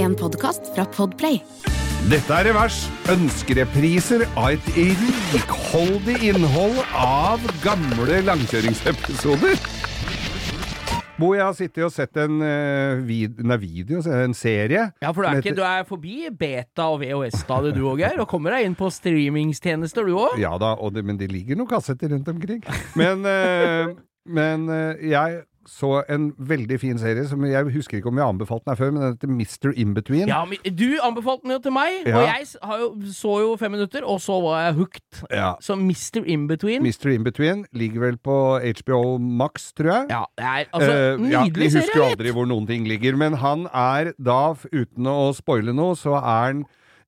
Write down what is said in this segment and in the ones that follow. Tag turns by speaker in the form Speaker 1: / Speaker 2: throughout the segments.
Speaker 1: en podkast fra Podplay.
Speaker 2: Dette er Revers. Ønskerepriser av et rikholdig innhold av gamle langkjøringsepisoder. Bo, jeg har sittet og sett en, eh, vid nei, video, så er det en serie.
Speaker 3: Ja, for du er,
Speaker 2: som
Speaker 3: ikke,
Speaker 2: heter-
Speaker 3: du er forbi beta- og VHS-stadiet du òg, Geir, og kommer deg inn på streamingstjenester du òg.
Speaker 2: Ja da, og det, men det ligger noen kassetter rundt omkring. Men, eh, men eh, jeg så en veldig fin serie som jeg husker ikke om jeg anbefalte den her før, men den heter Mr. Inbetween.
Speaker 3: Ja, men du anbefalte den jo til meg,
Speaker 2: Ja.
Speaker 3: og jeg s- har jo, så jo fem minutter, og så var jeg hooked.
Speaker 2: Ja.
Speaker 3: Så Mr. Inbetween
Speaker 2: Mr. Inbetween ligger vel på HBO Max, tror jeg.
Speaker 3: Ja, det er altså
Speaker 2: Eh, ja,
Speaker 3: nydelig
Speaker 2: Vi husker jo
Speaker 3: serie.
Speaker 2: aldri hvor noen ting ligger, men han er da, f- uten å spoile noe, så er han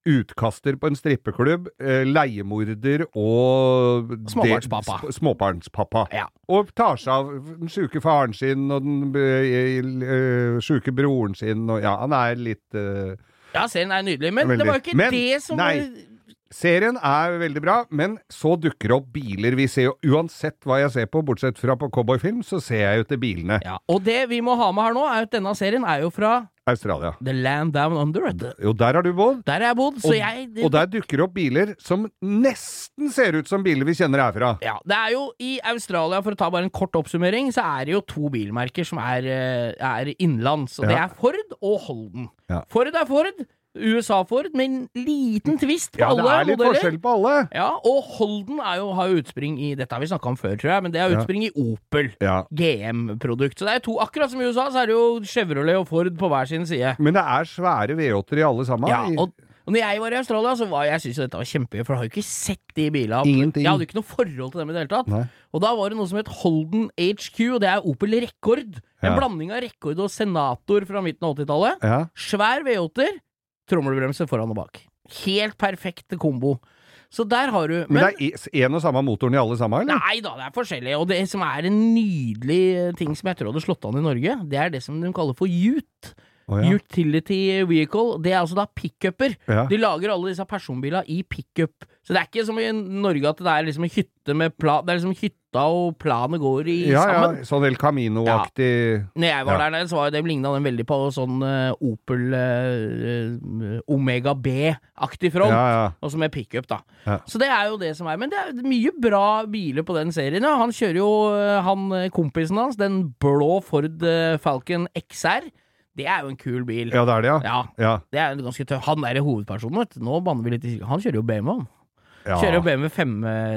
Speaker 2: utkaster på en strippeklubb, eh, leiemorder og det-
Speaker 3: Småbarnspappa.
Speaker 2: sp- småbarnspappa.
Speaker 3: Ja.
Speaker 2: Og tar seg av den sjuke faren sin og den uh, sjuke broren sin, og ja, han er litt eh,
Speaker 3: Ja, serien er nydelig, men
Speaker 2: Veldig.
Speaker 3: det var jo ikke
Speaker 2: Men,
Speaker 3: det som
Speaker 2: nei. Serien er veldig bra, men så dukker det opp biler. Vi ser jo uansett hva jeg ser på, bortsett fra på cowboyfilm, så ser jeg jo til bilene.
Speaker 3: ja, Og det vi må ha med her nå, er jo at denne serien er jo fra
Speaker 2: Australia.
Speaker 3: The Land Down Under. vet du.
Speaker 2: Jo, der har du bodd.
Speaker 3: Der har jeg bodd, så
Speaker 2: Og,
Speaker 3: jeg
Speaker 2: og der dukker opp biler som nesten ser ut som biler vi kjenner herfra.
Speaker 3: Ja, det er jo I Australia, for å ta bare en kort oppsummering, så er det jo to bilmerker som er, eh, er innenlands. Og det
Speaker 2: Ja.
Speaker 3: er Ford og Holden.
Speaker 2: Ja.
Speaker 3: Ford er Ford, USA-Ford, med en liten tvist på
Speaker 2: Ja, det
Speaker 3: alle
Speaker 2: er litt
Speaker 3: modeller.
Speaker 2: forskjell på alle.
Speaker 3: Ja, og Holden er jo, har jo utspring i Dette har vi snakka om før, tror jeg, men det har
Speaker 2: Ja.
Speaker 3: utspring i Opel.
Speaker 2: Ja.
Speaker 3: GM-produkt. Så det er to, akkurat som i USA, så er det jo Chevrolet og Ford på hver sin side.
Speaker 2: Men det er svære V8-er i alle sammen.
Speaker 3: Ja, og, og når jeg var i Australia, så var jeg syntes jo dette var kjempegøy, for jeg har jo ikke sett de bilene.
Speaker 2: Ingenting.
Speaker 3: Jeg hadde ikke noe forhold til dem i det hele tatt.
Speaker 2: Nei.
Speaker 3: Og da var det noe som het Holden HQ, og det er Opel Rekord. En
Speaker 2: Ja.
Speaker 3: blanding av Rekord og Senator fra midten av 80-tallet.
Speaker 2: ja.
Speaker 3: Svær V8-er, trommelbremse foran og bak. Helt perfekt kombo. Så der har du
Speaker 2: Men, det er én og samme motoren i alle sammen, eller?
Speaker 3: Nei da, det er forskjellig. Og det som er en nydelig ting som jeg tror hadde slått an i Norge, det er det som de kaller for Ute.
Speaker 2: Å, ja.
Speaker 3: Utility vehicle. Det er altså da pickuper.
Speaker 2: Ja.
Speaker 3: De lager alle disse personbilene i pickup. Så det er ikke som i Norge at det er liksom en hytte med plan Det er liksom hytta og planet går i
Speaker 2: Ja, ja,
Speaker 3: sammen.
Speaker 2: sånn El Camino-aktig
Speaker 3: Når jeg var
Speaker 2: Ja.
Speaker 3: der nede, så var det ligna den veldig på sånn eh, Opel eh, eh, Omega B-aktig front.
Speaker 2: ja, ja.
Speaker 3: Også med pickup, da.
Speaker 2: Ja.
Speaker 3: Så det er jo det som er. Men det er mye bra biler på den serien. Ja. Han kjører jo eh, han eh, kompisen hans, den blå Ford eh, Falcon XR. Det er jo en kul bil.
Speaker 2: ja, det er det, ja.
Speaker 3: Ja,
Speaker 2: Ja.
Speaker 3: det er en ganske tøff. Han er hovedpersonen, vet du. Nå banner vi litt i kirka. Han kjører jo BMW, han.
Speaker 2: ja.
Speaker 3: Kjører jo BMW E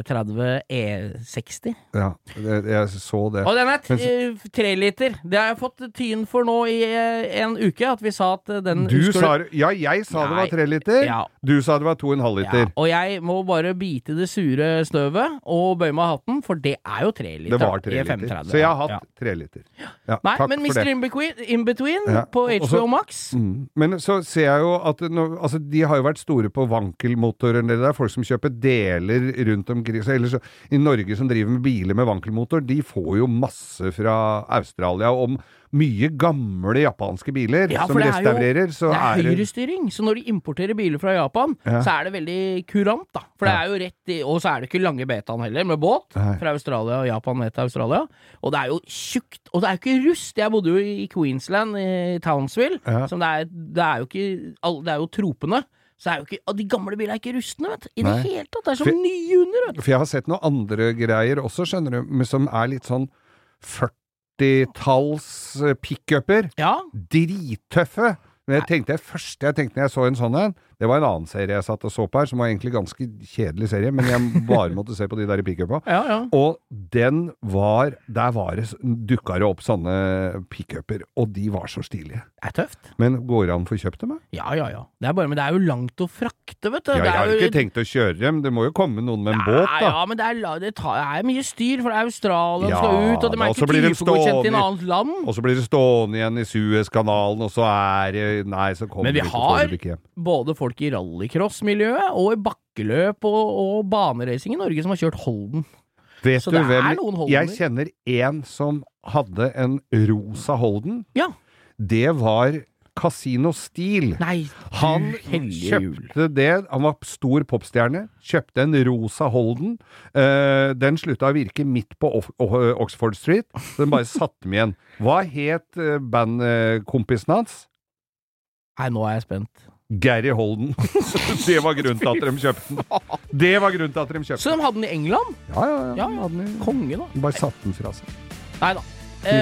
Speaker 3: 530 E60.
Speaker 2: ja. Det, jeg så det.
Speaker 3: Og den er t-
Speaker 2: Men
Speaker 3: eh, tre liter. Det har jeg fått tyn for nå i eh, en uke, at vi sa at eh, den
Speaker 2: Du
Speaker 3: Husker
Speaker 2: sa Ja, jeg sa det
Speaker 3: Nei.
Speaker 2: var tre liter.
Speaker 3: Ja.
Speaker 2: Du sa det var to og en halv
Speaker 3: ja,
Speaker 2: liter.
Speaker 3: og jeg må bare bite det sure snøvet og bøye meg av hatten, for det er jo tre liter.
Speaker 2: Det var tre
Speaker 3: i
Speaker 2: liter.
Speaker 3: 530,
Speaker 2: Så jeg har
Speaker 3: ja.
Speaker 2: hatt tre liter. Ja,
Speaker 3: Nei,
Speaker 2: takk
Speaker 3: men
Speaker 2: for
Speaker 3: Mr.
Speaker 2: det.
Speaker 3: Inbetween, Inbetween
Speaker 2: Ja.
Speaker 3: på
Speaker 2: Og- og
Speaker 3: HBO
Speaker 2: så-
Speaker 3: Max
Speaker 2: Mm. Men så ser jeg jo at nå, altså, de har jo vært store på vankelmotorer. Det er folk som kjøper deler rundt omkring. Så, ellers, så- I Norge som driver med biler med vankelmotor, de får jo masse fra Australia om mye gamle japanske biler
Speaker 3: Ja,
Speaker 2: som
Speaker 3: for det er jo-
Speaker 2: restaurerer. så
Speaker 3: Det er
Speaker 2: er det
Speaker 3: høyrestyring, så når de importerer biler fra Japan,
Speaker 2: Ja.
Speaker 3: så er det veldig kurant, da. For det er jo rett i Og så er det ikke lange betaen heller, med båt
Speaker 2: Nei.
Speaker 3: fra Australia og Japan ned til Australia. Og det er jo tjukt. Og det er jo ikke rust. Jeg bodde jo i Queensland, i Townsville,
Speaker 2: Ja.
Speaker 3: som det er, det er jo ikke all- Det er jo tropene. Så er jo ikke, og De gamle bilene er ikke rustne, vet du. I
Speaker 2: Nei.
Speaker 3: det hele tatt. Det
Speaker 2: For-
Speaker 3: er som nye under, vet du.
Speaker 2: For jeg har sett noen andre greier også, skjønner du, men som er litt sånn 40-talls eh, pickuper.
Speaker 3: Ja.
Speaker 2: drittøffe. Men jeg tenkte jeg først jeg tenkte når jeg så en sånn en Det var en annen serie jeg satt og så på her, som var egentlig ganske kjedelig serie, men jeg bare måtte se på de der i pickupa.
Speaker 3: Ja, ja.
Speaker 2: Og den var Der var det, dukka det opp sånne pickuper, og de var så stilige.
Speaker 3: Det er tøft.
Speaker 2: Men går det an å få kjøpt dem? da?
Speaker 3: Ja, ja, ja. Det er bare, men det er jo langt å frakte, vet du.
Speaker 2: Ja,
Speaker 3: Det
Speaker 2: jeg
Speaker 3: er
Speaker 2: har jo
Speaker 3: jo-
Speaker 2: ikke tenkt å kjøre dem, det må jo komme noen med en
Speaker 3: Nei,
Speaker 2: båt, da.
Speaker 3: Ja, men det er, la- det tar, det er mye styr, for det er Australia de skal
Speaker 2: Ja,
Speaker 3: ut, og de
Speaker 2: da,
Speaker 3: er
Speaker 2: og så
Speaker 3: ikke
Speaker 2: blir de
Speaker 3: typegodkjent i
Speaker 2: stående
Speaker 3: et
Speaker 2: i-
Speaker 3: annet land.
Speaker 2: Og så blir det stående igjen i Suezkanalen, og så er det Nei, så kommer
Speaker 3: Men vi
Speaker 2: det ikke,
Speaker 3: har-
Speaker 2: får det ikke hjem.
Speaker 3: Både folk i rallycross-miljøet og i bakkeløp og, og baneracing i Norge som har kjørt Holden.
Speaker 2: Vet
Speaker 3: Så
Speaker 2: du
Speaker 3: det er
Speaker 2: hvem
Speaker 3: noen
Speaker 2: Jeg
Speaker 3: Holdener.
Speaker 2: kjenner én som hadde en rosa Holden.
Speaker 3: Ja.
Speaker 2: Det var Casino Steel.
Speaker 3: Nei,
Speaker 2: Han
Speaker 3: du hellige jul.
Speaker 2: kjøpte det, han var stor popstjerne, kjøpte en rosa Holden. Eh, den slutta å virke midt på Off- O- Oxford Street, så den bare satte med igjen. Hva het eh, bandkompisen hans?
Speaker 3: Nei, nå er jeg spent.
Speaker 2: Gary Holden. det var grunnen til at de kjøpte den. Det var grunnen til at de kjøpte den.
Speaker 3: Så de hadde den i England?
Speaker 2: Ja, ja, ja.
Speaker 3: Ja, ja.
Speaker 2: Den hadde-
Speaker 3: Konge, da.
Speaker 2: Bare satt den fra seg.
Speaker 3: Nei da. Eh,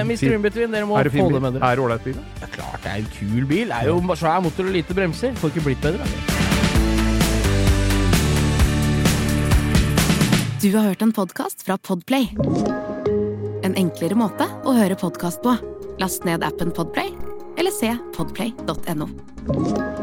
Speaker 2: Fin-
Speaker 3: Mr.
Speaker 2: fin.
Speaker 3: In-Between, dere må
Speaker 2: Er det
Speaker 3: få
Speaker 2: fin
Speaker 3: det
Speaker 2: bil?
Speaker 3: med dere.
Speaker 2: Er det ålreit bil? da?
Speaker 3: Det er klart det er en kul bil. Det er jo svær motor og lite bremser. Får ikke blitt bedre.
Speaker 1: Du har hørt en podcast fra Podplay En enklere måte å høre podcast på Last ned appen Podplay Eller se podplay.no